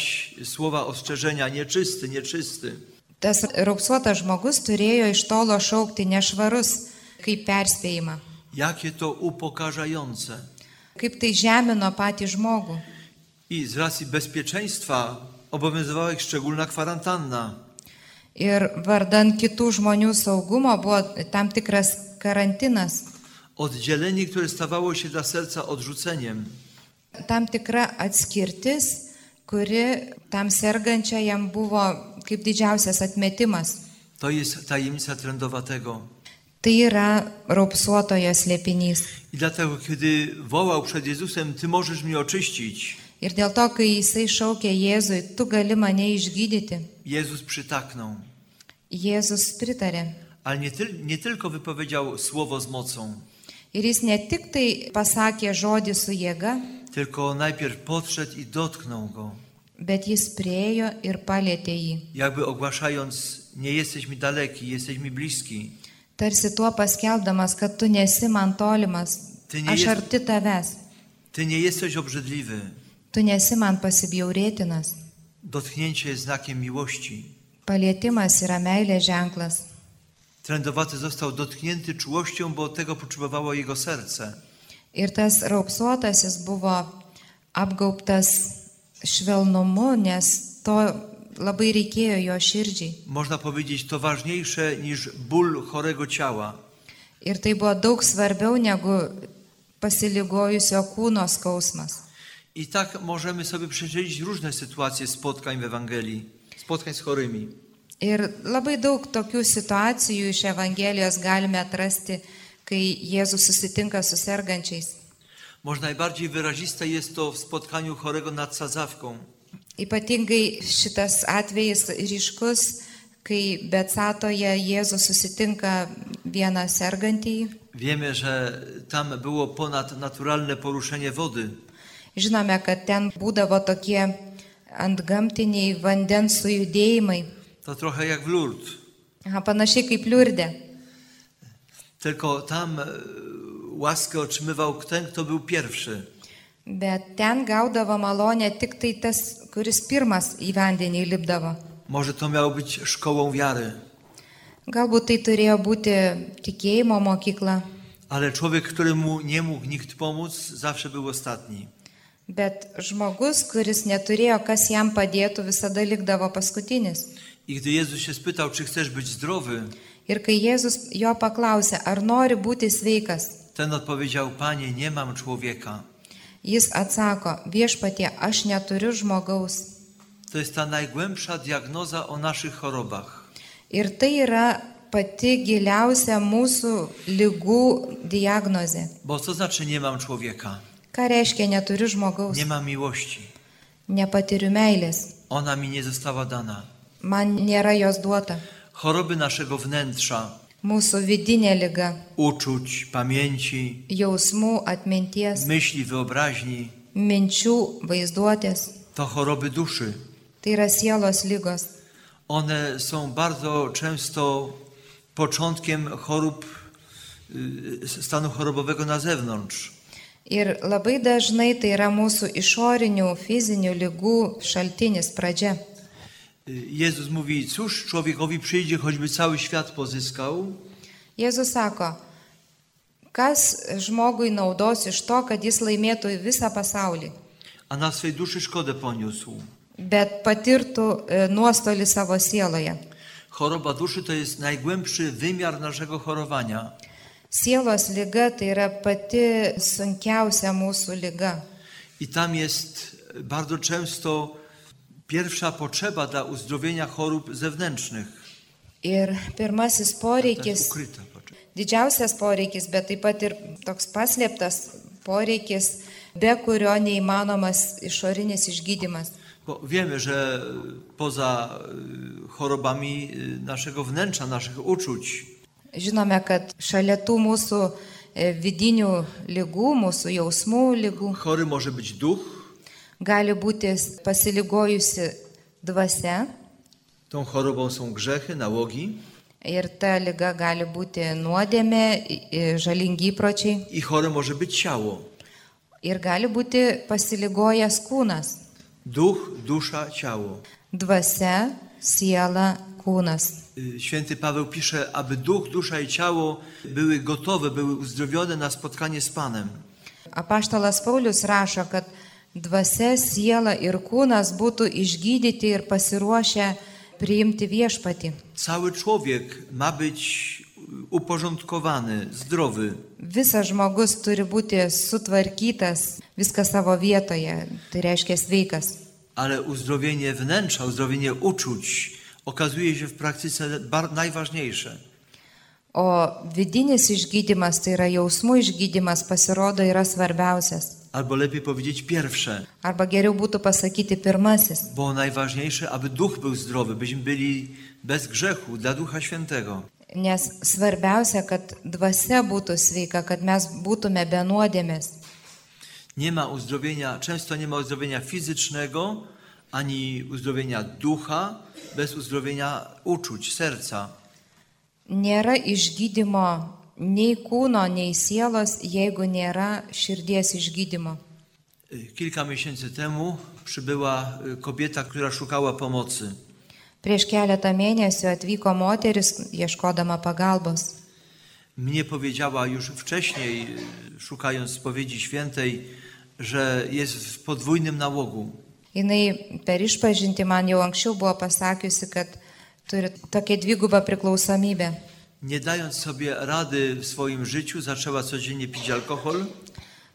Speaker 2: słowa ostrzeżenia nieczysty, nieczysty.
Speaker 3: Tas raupsuotas žmogus turėjo iš tolo šaukti nešvarus kaip perspėjimą,
Speaker 2: Jakie to upokarzające.
Speaker 3: kaip tai žemino patį žmogų.
Speaker 2: I z racji bezpieczeństwa obowiązywała ich szczególna kwarantanna.
Speaker 3: Ir vardan kitų žmonių saugumo buvo tam tikras karantinas,
Speaker 2: Oddzielenie, które stawało się dla serca odrzuceniem.
Speaker 3: tam tikra atskirtis, kuri tam sergančiajam buvo kaip didžiausias atmetimas.
Speaker 2: To jest tajemnica trendowatego.
Speaker 3: Tai yra raupsuotojo slėpinys.
Speaker 2: I dlatego, kiedy wołał przed Jezusem, Ty możesz mnie oczyścić,
Speaker 3: Ir dėl to, kai jisai šaukė Jėzui, tu gali mane išgydyti,
Speaker 2: Jezus przytaknął.
Speaker 3: Jėzus pritarė.
Speaker 2: Ale nie, tyl, nie tylko wypowiedział słowo z mocą,
Speaker 3: Ir jis ne tik tai pasakė žodį su jėga,
Speaker 2: tylko najpierw podszedł i dotknął go,
Speaker 3: bet jis priejo ir palėtė jį.
Speaker 2: jakby ogłaszając: Nie jesteś mi daleki, jesteś mi bliski.
Speaker 3: Tarsi tuo paskelbdamas, kad tu nesi man tolimas,
Speaker 2: Tai ne
Speaker 3: aš
Speaker 2: jis-
Speaker 3: arti tavęs,
Speaker 2: Ty nie jesteś obrzydliwy.
Speaker 3: tu nesi man pasibjaurėtinas.
Speaker 2: Dotknięcie jest znakiem miłości.
Speaker 3: Palėtimas yra meilės ženklas.
Speaker 2: Trędowaty został dotknięty czułością, bo tego potrzebowało jego serce.
Speaker 3: Ir tas raupsuotasis buvo apgaubtas švelnumu, nes to labai reikėjo jo širdžiai.
Speaker 2: Można powiedzieć, to ważniejsze niż ból chorego ciała.
Speaker 3: Ir tai buvo daug svarbiau negu pasiligojusio kūno skausmas.
Speaker 2: I tak możemy sobie prześledzić różne sytuacje spotkań w Ewangelii, spotkań z chorymi.
Speaker 3: Ir labai daug tokių situacijų iš Evangelijos galime atrasti, kai Jėzus susitinka su sergančiais.
Speaker 2: Może najbardziej wyraziste jest to w spotkaniu chorego nad sadzawką.
Speaker 3: Ypatingai šitas atvejis ryškus, kai Betsatoje Jėzus susitinka vieną sergantį.
Speaker 2: Wiemy, że tam było ponadnaturalne poruszenie wody.
Speaker 3: Žinome, kad ten būdavo tokie antgamtiniai vandens sujudėjimai,
Speaker 2: To trochę jak w Lourdes.
Speaker 3: Aha, panašiai kaip liurdė.
Speaker 2: Tylko tam e, łaskę otrzymywał ten, kto był pierwszy.
Speaker 3: Bet ten gaudavo malonę tik tai tas, kuris pirmas į vandenį lipdavo.
Speaker 2: Może to miało być szkołą wiary.
Speaker 3: Galbūt tai turėjo būti tikėjimo mokykla,
Speaker 2: Ale człowiek, któremu nie mógł nikt pomóc, zawsze był ostatni.
Speaker 3: bet žmogus, kuris neturėjo, kas jam padėtų, visada likdavo paskutinis.
Speaker 2: I gdy Jezus się spytał, czy chcesz być zdrowy,
Speaker 3: Ir kai Jėzus jo paklausė, ar nori būti sveikas,
Speaker 2: ten odpowiedział: Panie, nie mam człowieka.
Speaker 3: jis atsako, viešpatie, aš neturiu žmogaus.
Speaker 2: To jest ta najgłębsza diagnoza o naszych chorobach.
Speaker 3: Ir tai yra pati giliausia mūsų lygų diagnozė.
Speaker 2: Bo co znaczy nie mam człowieka?
Speaker 3: Ką reiškia neturiu žmogaus?
Speaker 2: Nie mam miłości.
Speaker 3: Nepatiriu meilės.
Speaker 2: Ona mi nie została dana.
Speaker 3: Man nėra jos duota.
Speaker 2: Choroby naszego wnętrza,
Speaker 3: Mūsų vidinė lyga,
Speaker 2: uczuć, pamięci,
Speaker 3: jausmų, atminties,
Speaker 2: myśli, wyobraźni
Speaker 3: minčių, vaizduotės.
Speaker 2: to choroby duszy.
Speaker 3: Tai yra sielos lygos.
Speaker 2: One są bardzo często początkiem chorób, y, stanu chorobowego na zewnątrz.
Speaker 3: Ir labai dažnai tai yra mūsų išorinių fizinių lygų šaltinis pradžia.
Speaker 2: Y, Jezus mówi: Cóż człowiekowi przyjdzie, choćby cały świat pozyskał,
Speaker 3: Jėzus sako, kas žmogui naudos iš to, kad jis laimėtų visą pasaulį,
Speaker 2: a na swej duszy szkodę poniósł.
Speaker 3: bet patirtų e, nuostolį savo sieloje.
Speaker 2: Choroba duszy to jest najgłębszy wymiar naszego chorowania.
Speaker 3: Sielos lyga tai yra pati sunkiausia mūsų lyga.
Speaker 2: I tam jest bardzo często pierwsza potrzeba dla uzdrowienia chorób zewnętrznych.
Speaker 3: Ir pirmasis
Speaker 2: To jest
Speaker 3: poreikis,
Speaker 2: ukryta potrzeba.
Speaker 3: didžiausias poreikis, bet taip pat ir toks paslėptas poreikis, be kurio neįmanomas išorinis išgydymas.
Speaker 2: Bo wiemy, że poza y, chorobami y, naszego wnętrza, naszych uczuć,
Speaker 3: Žinome, kad šalia tų mūsų e, vidinių lygų, mūsų jausmų lygų,
Speaker 2: chory może być duch,
Speaker 3: gali būti pasiligojusi dvasia
Speaker 2: tą chorobą są grzechy, nałogi
Speaker 3: ir ta lyga gali būti nuodėmė, i- i žalingi įpročiai
Speaker 2: i chore może być ciało.
Speaker 3: ir gali būti pasiligojęs kūnas.
Speaker 2: Duch, dusza, ciało.
Speaker 3: Dvasia, siela, kūnas.
Speaker 2: Y, Święty Paweł pisze, aby duch, dusza i ciało były gotowe, były uzdrowione na spotkanie z Panem.
Speaker 3: Apaštalas Paulius rašo, kad dvasia, siela ir kūnas būtų išgydyti ir pasiruošę priimti viešpatį.
Speaker 2: Cały człowiek ma być uporządkowany, zdrowy.
Speaker 3: Visas žmogus turi būti sutvarkytas, viskas savo vietoje, tai reiškia sveikas.
Speaker 2: Ale uzdrowienie wnętrza, uzdrowienie uczuć okazuje się w praktyce bar- najważniejsze.
Speaker 3: O vidinis išgydymas, tai yra jausmų išgydymas, pasirodo yra svarbiausias.
Speaker 2: Albo lepiej powiedzieć pierwsze,
Speaker 3: Arba geriau būtų pasakyti pirmasis.
Speaker 2: bo najważniejsze, aby duch był zdrowy, byśmy byli bez grzechu dla Ducha Świętego.
Speaker 3: Nes svarbiausia, kad dvasia būtų sveika, kad mes būtume be nuodėmės.
Speaker 2: Nie ma uzdrowienia, często nie ma uzdrowienia fizycznego, ani uzdrowienia ducha bez uzdrowienia uczuć, serca.
Speaker 3: Nėra išgydymo nei kūno, nei sielos, jeigu nėra širdies išgydymo.
Speaker 2: Y, Kilka miesięcy temu przybyła y, kobieta, która szukała pomocy.
Speaker 3: Prieš keletą mėnesių atvyko moteris ieškodama pagalbos.
Speaker 2: Mnie powiedziała już wcześniej, y, szukając spowiedzi świętej, że jest w podwójnym nałogu.
Speaker 3: Jis per išpažinti man jau anksčiau buvo pasakiusi, kad turi tokia dvigubą priklausomybę.
Speaker 2: Nie dając sobie rady w swoim życiu, zaczęła codziennie pić alkohol,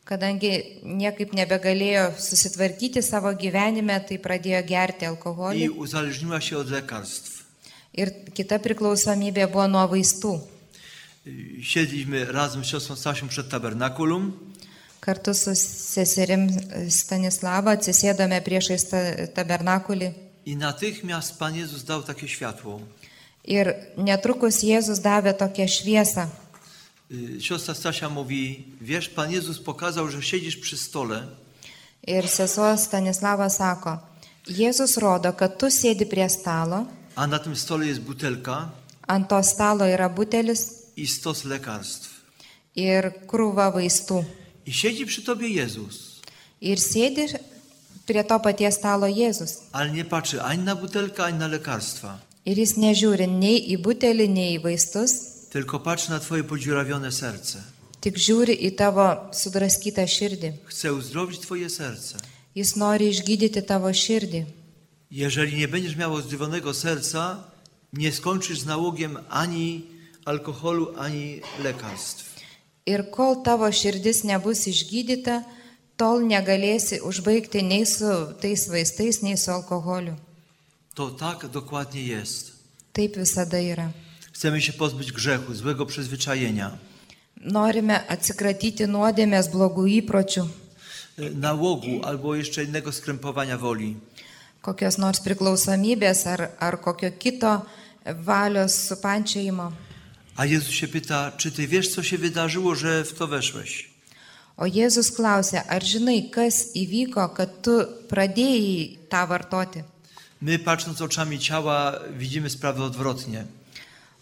Speaker 3: kadangi niekaip nebegalėjo susitvarkyti savo gyvenime, tai pradėjo gerti alkoholį.
Speaker 2: i uzależniła się od lekarstw.
Speaker 3: Ir kita priklausomybė buvo nuo vaistų.
Speaker 2: Y, Siedliśmy razem z siostrą Stasią przed tabernakulum
Speaker 3: Kartu su seserim Stanislava atsisėdome priešais ta- tabernakulį.
Speaker 2: i natychmiast Pan Jezus dał takie światło.
Speaker 3: Ir netrukus Jėzus davė tokią šviesą.
Speaker 2: Y, Siostra Stasia mówi, wiesz, Pan Jezus pokazał, że siedzisz przy stole
Speaker 3: Ir sesuo Stanislava sako, Jėzus rodo, kad tu sėdi prie stalo,
Speaker 2: A na tym stole jest butelka
Speaker 3: ant to stalo yra butelis
Speaker 2: i stos lekarstw.
Speaker 3: ir krūva vaistų.
Speaker 2: I siedzi przy tobie Jezus,
Speaker 3: Ir sėdi prie to paties stalo Jėzus.
Speaker 2: ale nie patrzy ani na butelkę, ani na lekarstwa,
Speaker 3: Ir jis nežiūri nei į butelį, nei į vaistus,
Speaker 2: tylko patrzy na twoje podziurawione serce.
Speaker 3: tik žiūri į tavo sudraskytą širdį.
Speaker 2: Chce uzdrowić twoje serce.
Speaker 3: Jis nori išgydyti tavo širdį.
Speaker 2: Jeżeli nie będziesz miał uzdrowionego serca, nie skończysz z nałogiem ani alkoholu, ani lekarstw.
Speaker 3: Ir kol tavo širdis nebus išgydyta, tol negalėsi užbaigti nei su tais vaistais, nei su alkoholiu.
Speaker 2: To tak dokładnie jest.
Speaker 3: Taip visada yra.
Speaker 2: Chcemy się pozbyć grzechu, złego przyzwyczajenia,
Speaker 3: Norime atsikratyti nuodėmės blogų įpročių,
Speaker 2: y, nałogu albo jeszcze innego skrępowania woli.
Speaker 3: kokios nors priklausomybės ar, ar kokio kito valios supančiajimo.
Speaker 2: A Jezus się pyta, czy ty wiesz, co się wydarzyło, że w to weszłeś?
Speaker 3: O Jėzus klausė, ar žinai, kas įvyko, kad tu pradėjai tą vartoti?
Speaker 2: My, patrząc oczami ciała, widzimy sprawę odwrotnie.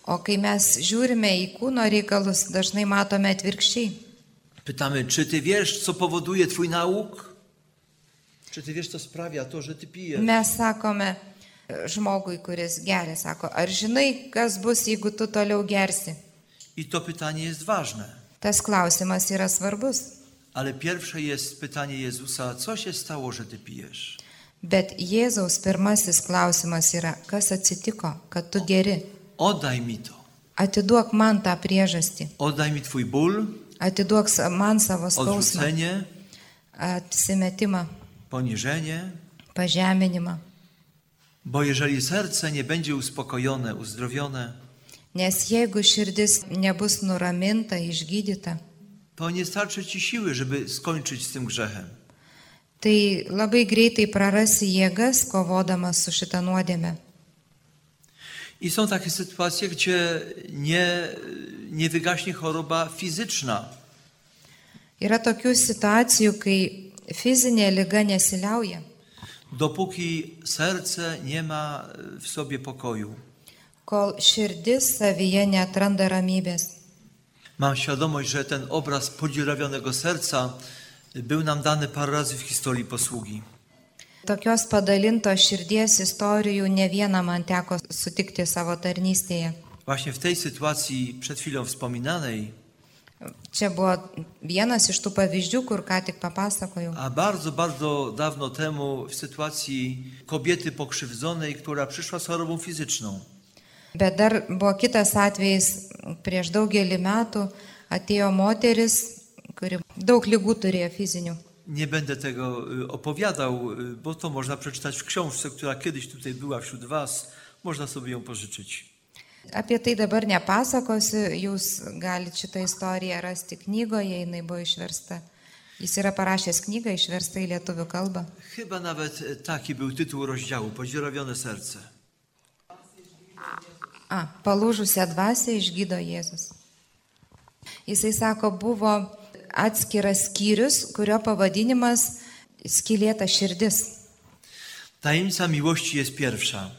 Speaker 3: O kai mes žiūrime į kūno reikalus, dažnai matome atvirkščiai.
Speaker 2: Pytamy, czy ty wiesz, co powoduje twój nauk? Czy ty wiesz, co sprawia to, że ty pijesz?
Speaker 3: Mes sakome e, žmogui, kuris geria, sako, ar žinai, kas bus, jeigu tu toliau gersi?
Speaker 2: I to pytanie jest ważne.
Speaker 3: Tas klausimas yra svarbus.
Speaker 2: Ale pierwsze jest pytanie Jezusa, co się stało, że ty pijesz?
Speaker 3: Bet Jėzaus pirmasis klausimas yra, kas atsitiko, kad tu geri?
Speaker 2: Oddaj mi to.
Speaker 3: Atiduok man tą priežastį,
Speaker 2: Oddaj mi twój ból,
Speaker 3: atiduok sa- man savo skausmą,
Speaker 2: odrzucenie,
Speaker 3: apsimetimą,
Speaker 2: poniżenie.
Speaker 3: pažeminimą.
Speaker 2: Bo jeżeli serce nie będzie uspokojone, uzdrowione,
Speaker 3: Nes jeigu širdis nebus nuraminta, išgydyta,
Speaker 2: to nie starczy ci siły, żeby skończyć z tym grzechem.
Speaker 3: tai labai greitai prarasi jėgas kovodamas su šitą nuodėmę.
Speaker 2: I są takie sytuacje, gdzie nie, nie wygaśnie choroba fizyczna.
Speaker 3: Yra tokių situacijų, kai fizinė lyga nesiliauja,
Speaker 2: Dopóki serce nie ma e, w sobie pokoju.
Speaker 3: kol širdis savyje netranda ramybės.
Speaker 2: Mam świadomość, że ten obraz podzierawionego serca e, był nam dany parę razy w historii posługi.
Speaker 3: Tokios padalintos širdies istorijų ne vieną man teko sutikti savo tarnystėje.
Speaker 2: Właśnie w tej sytuacji przed chwilą wspominanej,
Speaker 3: Čia buvo vienas iš tų pavyzdžių, kur ką tik papasakojau.
Speaker 2: a bardzo, bardzo dawno temu w sytuacji kobiety pokrzywdzonej, która przyszła z chorobą fizyczną.
Speaker 3: Bet dar buvo kitas atvejis, prieš daugelį metų atėjo moteris, kuri daug lygų turėjo fizinių.
Speaker 2: Nie będę tego y, opowiadał, y, bo to można przeczytać w książce, która kiedyś tutaj była wśród Was. Można sobie ją pożyczyć.
Speaker 3: Apie tai dabar nepasakosiu, jūs galite šitą istoriją rasti knygoje, jinai buvo išversta. Jis yra parašęs knygą išversta į lietuvių kalbą.
Speaker 2: Chyba nawet y, taki był tytuł rozdziału: Podziurawione serce.
Speaker 3: A, palūžusią dvasę išgydo Jėzus. Jisai sako, buvo atskiras skyrius, kurio pavadinimas skilėta širdis.
Speaker 2: Tajemnica miłości jest pierwsza.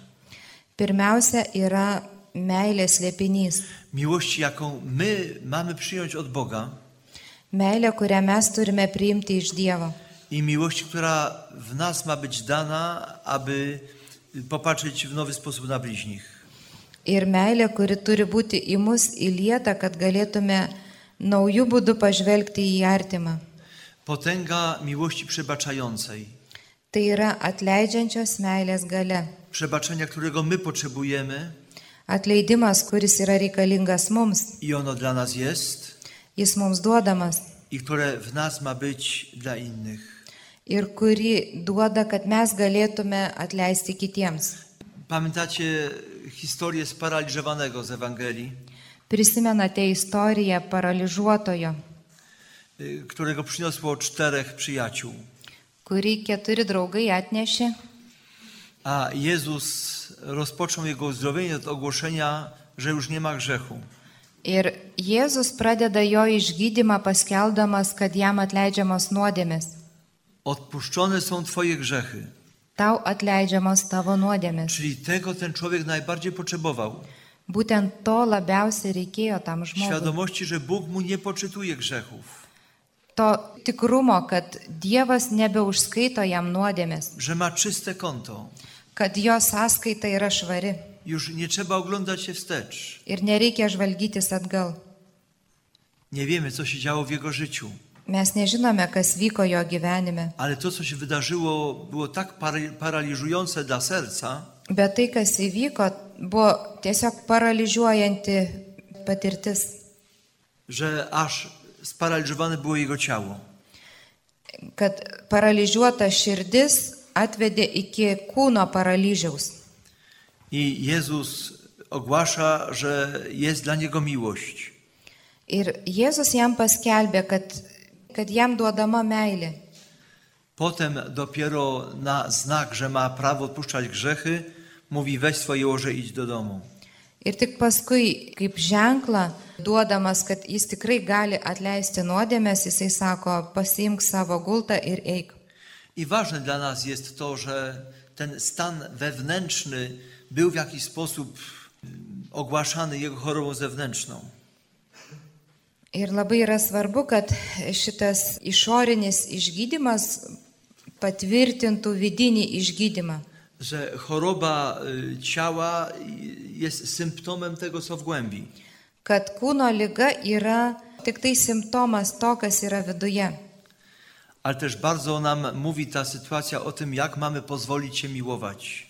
Speaker 3: Pirmiausia yra meilės liepinys.
Speaker 2: Miłości, jaką my mamy przyjąć od Boga,
Speaker 3: Meilė, kurią mes turime priimti iš Dievo.
Speaker 2: i miłości, która w nas ma być dana, aby y, popatrzeć w nowy sposób na bliźnich.
Speaker 3: Ir meilė, kuri turi būti į mus įlieta, kad galėtume naujų būdų pažvelgti į artimą.
Speaker 2: Potęga miłości przebaczającej,
Speaker 3: Tai yra atleidžiančios meilės gale.
Speaker 2: przebaczenia, którego my potrzebujemy,
Speaker 3: Atleidimas, kuris yra reikalingas mums,
Speaker 2: i ono dla nas jest.
Speaker 3: jis mums duodamas.
Speaker 2: i które w nas ma być dla innych.
Speaker 3: ir kuri duoda, kad mes galėtume atleisti kitiems.
Speaker 2: Pamiętacie historię sparaliżowanego z Ewangelii,
Speaker 3: Prisimenate istoriją paralyžiuotojo,
Speaker 2: y, którego przyniosło czterech przyjaciół.
Speaker 3: kurį keturi draugai atnešė
Speaker 2: A Jezus rozpoczął jego uzdrowienie od ogłoszenia, że już nie ma grzechu.
Speaker 3: ir Jėzus pradeda jo išgydymą paskeldamas, kad jam atleidžiamos nuodėmis.
Speaker 2: Odpuszczone są Twoje grzechy.
Speaker 3: Tau atleidžiamos tavo nuodėmis.
Speaker 2: Czyli tego ten człowiek najbardziej potrzebował.
Speaker 3: Būtent to labiausiai reikėjo tam žmogui.
Speaker 2: Świadomości, że Bóg mu nie poczytuje grzechów,
Speaker 3: To tikrumo, kad Dievas nebeužskaito jam nuodėmis,
Speaker 2: że ma czyste konto.
Speaker 3: kad jo sąskaita yra švari
Speaker 2: Już nie trzeba oglądać się wstecz.
Speaker 3: ir nereikia žvalgytis atgal.
Speaker 2: Nie wiemy, co się działo w jego życiu,
Speaker 3: Mes nežinome, kas vyko jo gyvenime,
Speaker 2: ale to, co się wydarzyło, było tak pary- paraliżujące dla serca,
Speaker 3: bet tai, kas įvyko, buvo tiesiog paralyžiuojanti patirtis,
Speaker 2: że aż sparaliżowane było jego ciało.
Speaker 3: kad paralyžiuota širdis atvedė iki kūno paralyžiaus.
Speaker 2: I Jezus ogłasza, że jest dla niego miłość.
Speaker 3: Ir Jėzus jam paskelbė, kad, kad jam duodama meilė.
Speaker 2: Potem dopiero na znak, że ma prawo odpuszczać grzechy, mówi weź swoje łoże i idź do domu.
Speaker 3: Ir tik paskui, kaip ženklą, duodamas, kad jis tikrai gali atleisti nuodėmės, jisai sako, pasiimk savo gultą ir eik.
Speaker 2: I ważne dla nas jest to, że ten stan wewnętrzny był w jakiś sposób mm, ogłaszany jego chorobą zewnętrzną.
Speaker 3: Ir labai yra svarbu, kad šitas išorinis išgydymas patvirtintų vidinį išgydymą.
Speaker 2: Że choroba y, ciała y, jest symptomem tego, co w głębi.
Speaker 3: Kad kūno lyga yra tik tai simptomas to, kas yra viduje.
Speaker 2: Ale też bardzo nam mówi ta sytuacja o tym, jak mamy pozwolić się miłować.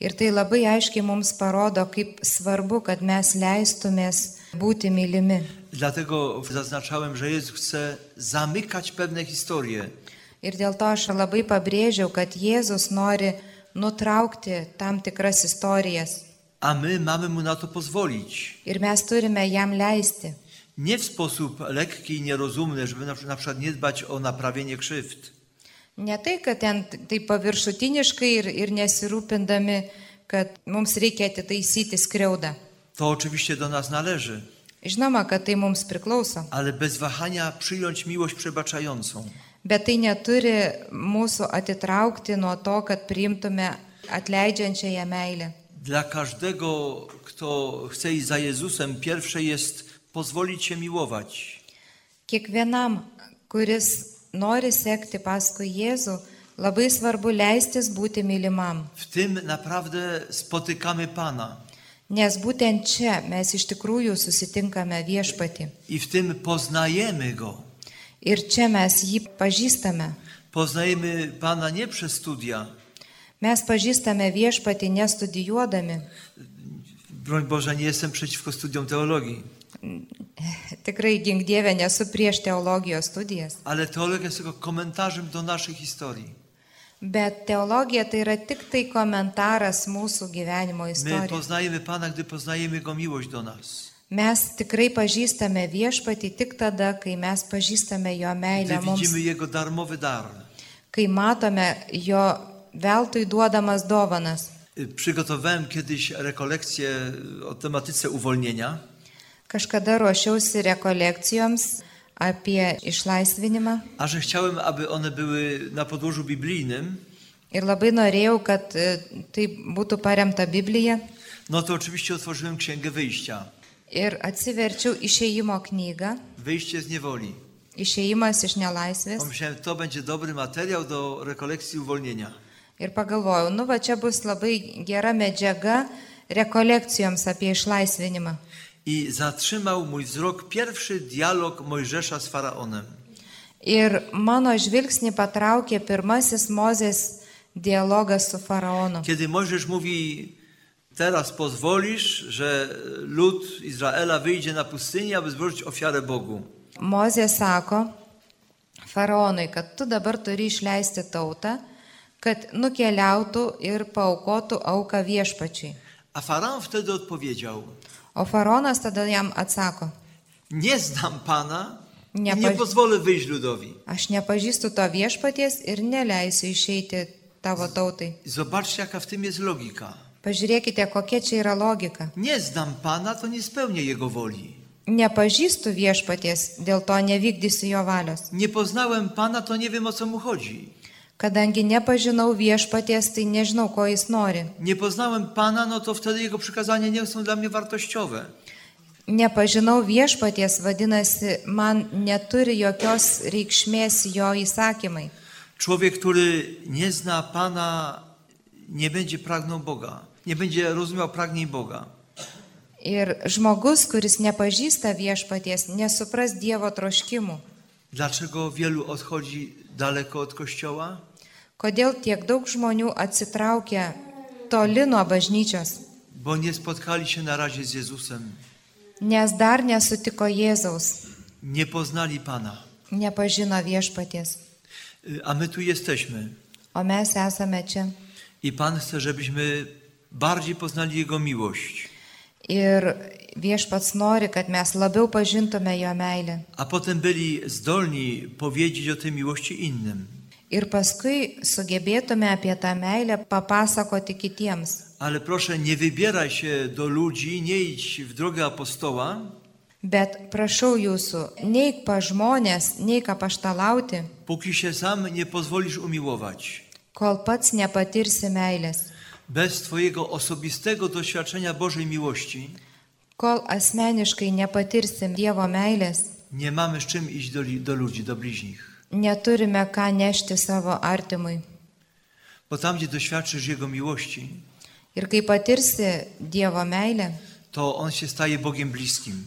Speaker 3: Ir tai labai aiškiai mums parodo, kaip svarbu, kad mes leistumės būti mylimi.
Speaker 2: Dlatego zaznaczałem, że Jezus chce zamykać pewne historie,
Speaker 3: Ir dėl to aš labai pabrėžiau, kad Jėzus nori nutraukti tam tikras istorijas.
Speaker 2: a my mamy mu na to pozwolić.
Speaker 3: Ir mes turime jam leisti.
Speaker 2: Nie w sposób lekki i nierozumny, żeby na przy- na przykład nie dbać o naprawienie krzywd,
Speaker 3: Ne tai, kad ten t- taip paviršutiniškai ir, ir nesirūpindami, kad mums reikia atitaisyti skriaudą.
Speaker 2: to oczywiście do nas należy,
Speaker 3: Žinoma, kad tai mums priklauso,
Speaker 2: ale bez wahania przyjąć miłość przebaczającą.
Speaker 3: bet tai neturi mūsų atitraukti nuo to, kad priimtume atleidžiančiąją meilę.
Speaker 2: Dla każdego, kto chce iść za Jezusem, pierwsze jest pozwolić się miłować.
Speaker 3: Kiekvienam, kuris nori sekti paskui Jėzų, labai svarbu leistis būti mylimam,
Speaker 2: W tym naprawdę spotykamy Pana
Speaker 3: nes būtent čia mes iš tikrųjų susitinkame viešpati
Speaker 2: i w tym poznajemy Go.
Speaker 3: ir čia mes jį pažįstame.
Speaker 2: Poznajemy Pana nie przez studia.
Speaker 3: Mes pažįstame viešpatį nestudijuodami.
Speaker 2: Broń Boże, nie jestem przeciwko studiom teologii,
Speaker 3: Tikrai, gink Dieve, nesu prieš teologijos studijas.
Speaker 2: ale teologia jest tylko komentarzem do naszej historii.
Speaker 3: Bet teologija tai yra tik tai komentaras mūsų gyvenimo
Speaker 2: My
Speaker 3: istorijai.
Speaker 2: poznajemy Pana, gdy poznajemy Jego miłość do nas.
Speaker 3: Mes tikrai pažįstame viešpatį tik tada, kai mes pažįstame jo
Speaker 2: Gdy
Speaker 3: meilę mums,
Speaker 2: widzimy Jego darmowy dar.
Speaker 3: kai matome jo veltui duodamas dovanas.
Speaker 2: Y, Przygotowałem kiedyś rekolekcję o tematyce uwolnienia
Speaker 3: Kažkada ruošiausi rekolekcijoms apie išlaisvinimą
Speaker 2: A że chciałem, aby one były na podłożu biblijnym,
Speaker 3: ir labai norėjau, kad e, tai būtų paremta Biblija.
Speaker 2: no to oczywiście otworzyłem Księgę Wyjścia.
Speaker 3: Ir atsiverčiau išėjimo knygą,
Speaker 2: Wyjście z niewoli.
Speaker 3: išėjimas iš nelaisvės.
Speaker 2: Pomyślałem, to będzie dobry materiał do rekolekcji uwolnienia.
Speaker 3: Ir pagalvojau, nu va čia bus labai gera medžiaga rekolekcijoms apie išlaisvinimą.
Speaker 2: I zatrzymał mój wzrok pierwszy dialog Mojżesza z faraonem.
Speaker 3: Ir mano žvilgsnį patraukė pirmasis Mozės dialogas su faraonu.
Speaker 2: Kiedy Mojżesz mówi, teraz pozwolisz, że lud Izraela wyjdzie na pustynię, aby złożyć ofiarę Bogu.
Speaker 3: Mozė sako, faraonui, kad tu dabar turi išleisti tautą, kad nukeliautų ir paukotų auką viešpačiui.
Speaker 2: A faraon wtedy odpowiedział:
Speaker 3: O faraonas tada jam atsako,
Speaker 2: Nie znam pana,
Speaker 3: Nie
Speaker 2: nie,
Speaker 3: poś-
Speaker 2: pozwolę wyjść ludowi.
Speaker 3: aš nepažįstu to viešpaties ir neleisiu išeiti tavo tautai.
Speaker 2: Zobaczcie, jaka w tym jest logika.
Speaker 3: Pažiūrėkite, kokia čia yra logika.
Speaker 2: Nie znam pana, to nie spełnię jego woli.
Speaker 3: Nepažįstu viešpaties, dėl to nevykdysiu jo valios.
Speaker 2: Nie poznałem pana, to nie wiem o co mu chodzi.
Speaker 3: Kadangi nepažinau viešpaties, tai nežinau, ko jis nori.
Speaker 2: Nie poznałem pana, no to wtedy jego przykazania nie są dla mnie wartościowe.
Speaker 3: Nepažinau viešpaties, vadinasi, man neturi jokios reikšmės jo įsakymai.
Speaker 2: Człowiek, który nie zna Pana, nie będzie pragnął Boga, nie będzie rozumiał pragnień Boga.
Speaker 3: Ir žmogus, kuris nepažįsta viešpaties, nesupras Dievo troškimų.
Speaker 2: Dlaczego wielu odchodzi daleko od Kościoła?
Speaker 3: Kodėl tiek daug žmonių atsitraukia toli nuo bažnyčios?
Speaker 2: Bo nie spotkali się na razie z Jezusem,
Speaker 3: Nes dar nesutiko Jėzaus,
Speaker 2: nie poznali Pana.
Speaker 3: nepažino viešpaties.
Speaker 2: Y, A my tu jesteśmy
Speaker 3: O mes esame čia.
Speaker 2: i Pan chce, żebyśmy bardziej poznali Jego miłość,
Speaker 3: Ir viešpats nori, kad mes labiau pažintume jo meilę.
Speaker 2: a potem byli zdolni powiedzieć o tej miłości innym.
Speaker 3: Ir paskui sugebėtume apie tą meilę papasakoti kitiems.
Speaker 2: Ale proszę, nie wybieraj się do ludzi, nie idź w drogę apostoła,
Speaker 3: Bet prašau jūsų, neik pa žmonės, neik apaštalauti,
Speaker 2: Póki się sam nie pozwolisz umiłować,
Speaker 3: kol pats nepatirsi meilės,
Speaker 2: bez Twojego osobistego doświadczenia Bożej miłości,
Speaker 3: kol asmeniškai nepatirsim Dievo meilės,
Speaker 2: nie mamy z czym iść do, li- do ludzi, do bliźnich.
Speaker 3: neturime ką nešti savo artimui.
Speaker 2: Bo tam, gdzie doświadczysz Jego miłości,
Speaker 3: Ir kai patirsi Dievo meilę,
Speaker 2: to On się staje Bogiem bliskim.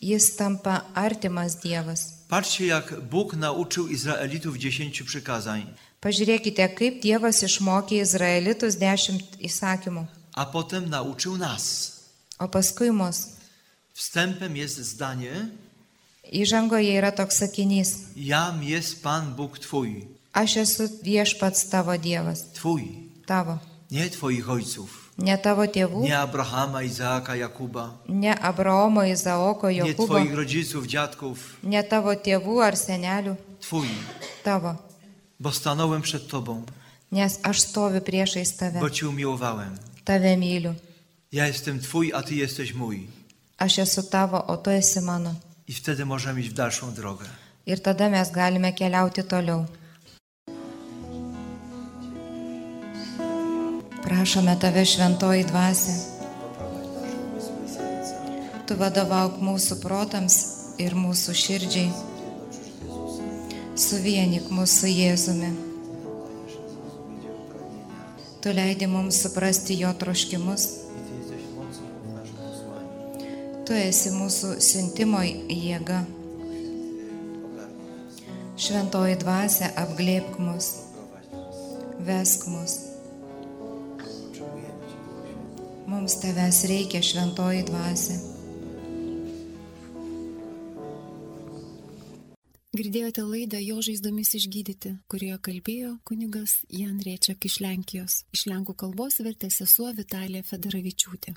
Speaker 3: jis tampa artimas Dievas.
Speaker 2: Patrzcie, jak Bóg nauczył Izraelitów dziesięciu przykazań,
Speaker 3: Pažiūrėkite, kaip Dievas išmokė Izraelitus dešimt įsakymų,
Speaker 2: a potem nauczył nas.
Speaker 3: o paskui mus.
Speaker 2: Wstępem jest zdanie:
Speaker 3: Įžangoje yra toks sakinys,
Speaker 2: Jam jest Pan Bóg Twój.
Speaker 3: aš esu viešpats tavo Dievas,
Speaker 2: Twój,
Speaker 3: tavo,
Speaker 2: nie Twoich ojców,
Speaker 3: ne tavo tėvų.
Speaker 2: nie Abrahama, Izaaka, Jakuba,
Speaker 3: Ne Abraomo, Izaoko,
Speaker 2: nie
Speaker 3: Jokūbo,
Speaker 2: Twoich rodziców, dziadków.
Speaker 3: ne tavo tėvų ar senelių,
Speaker 2: Twój,
Speaker 3: tavo,
Speaker 2: bo stanąłem przed Tobą,
Speaker 3: nes aš stoviu priešais tave,
Speaker 2: bo Cię umiłowałem.
Speaker 3: tave myliu.
Speaker 2: Ja jestem Twój, a Ty jesteś mój.
Speaker 3: Aš esu tavo, o tu esi mano.
Speaker 2: I wtedy możemy iść w dalszą drogę.
Speaker 3: Ir tada mes galime keliauti toliau. Prašome tave, šventoji dvasia. Tu vadovauk mūsų protams ir mūsų širdžiai. Suvienik mūsų Jėzumi. Tu leidi mums suprasti jo troškimus. Tu esi mūsų siuntimo jėga. Šventoji dvasia apglėbk mus, vesk mus. Mums tavęs reikia, šventoji dvasia.
Speaker 1: Girdėjote laidą Jo žaizdomis išgydyti, kurioje kalbėjo kunigas Jan Riečiak iš Lenkijos. Iš Lenkų kalbos vertė sesuo Vitalija Federavičiūtė.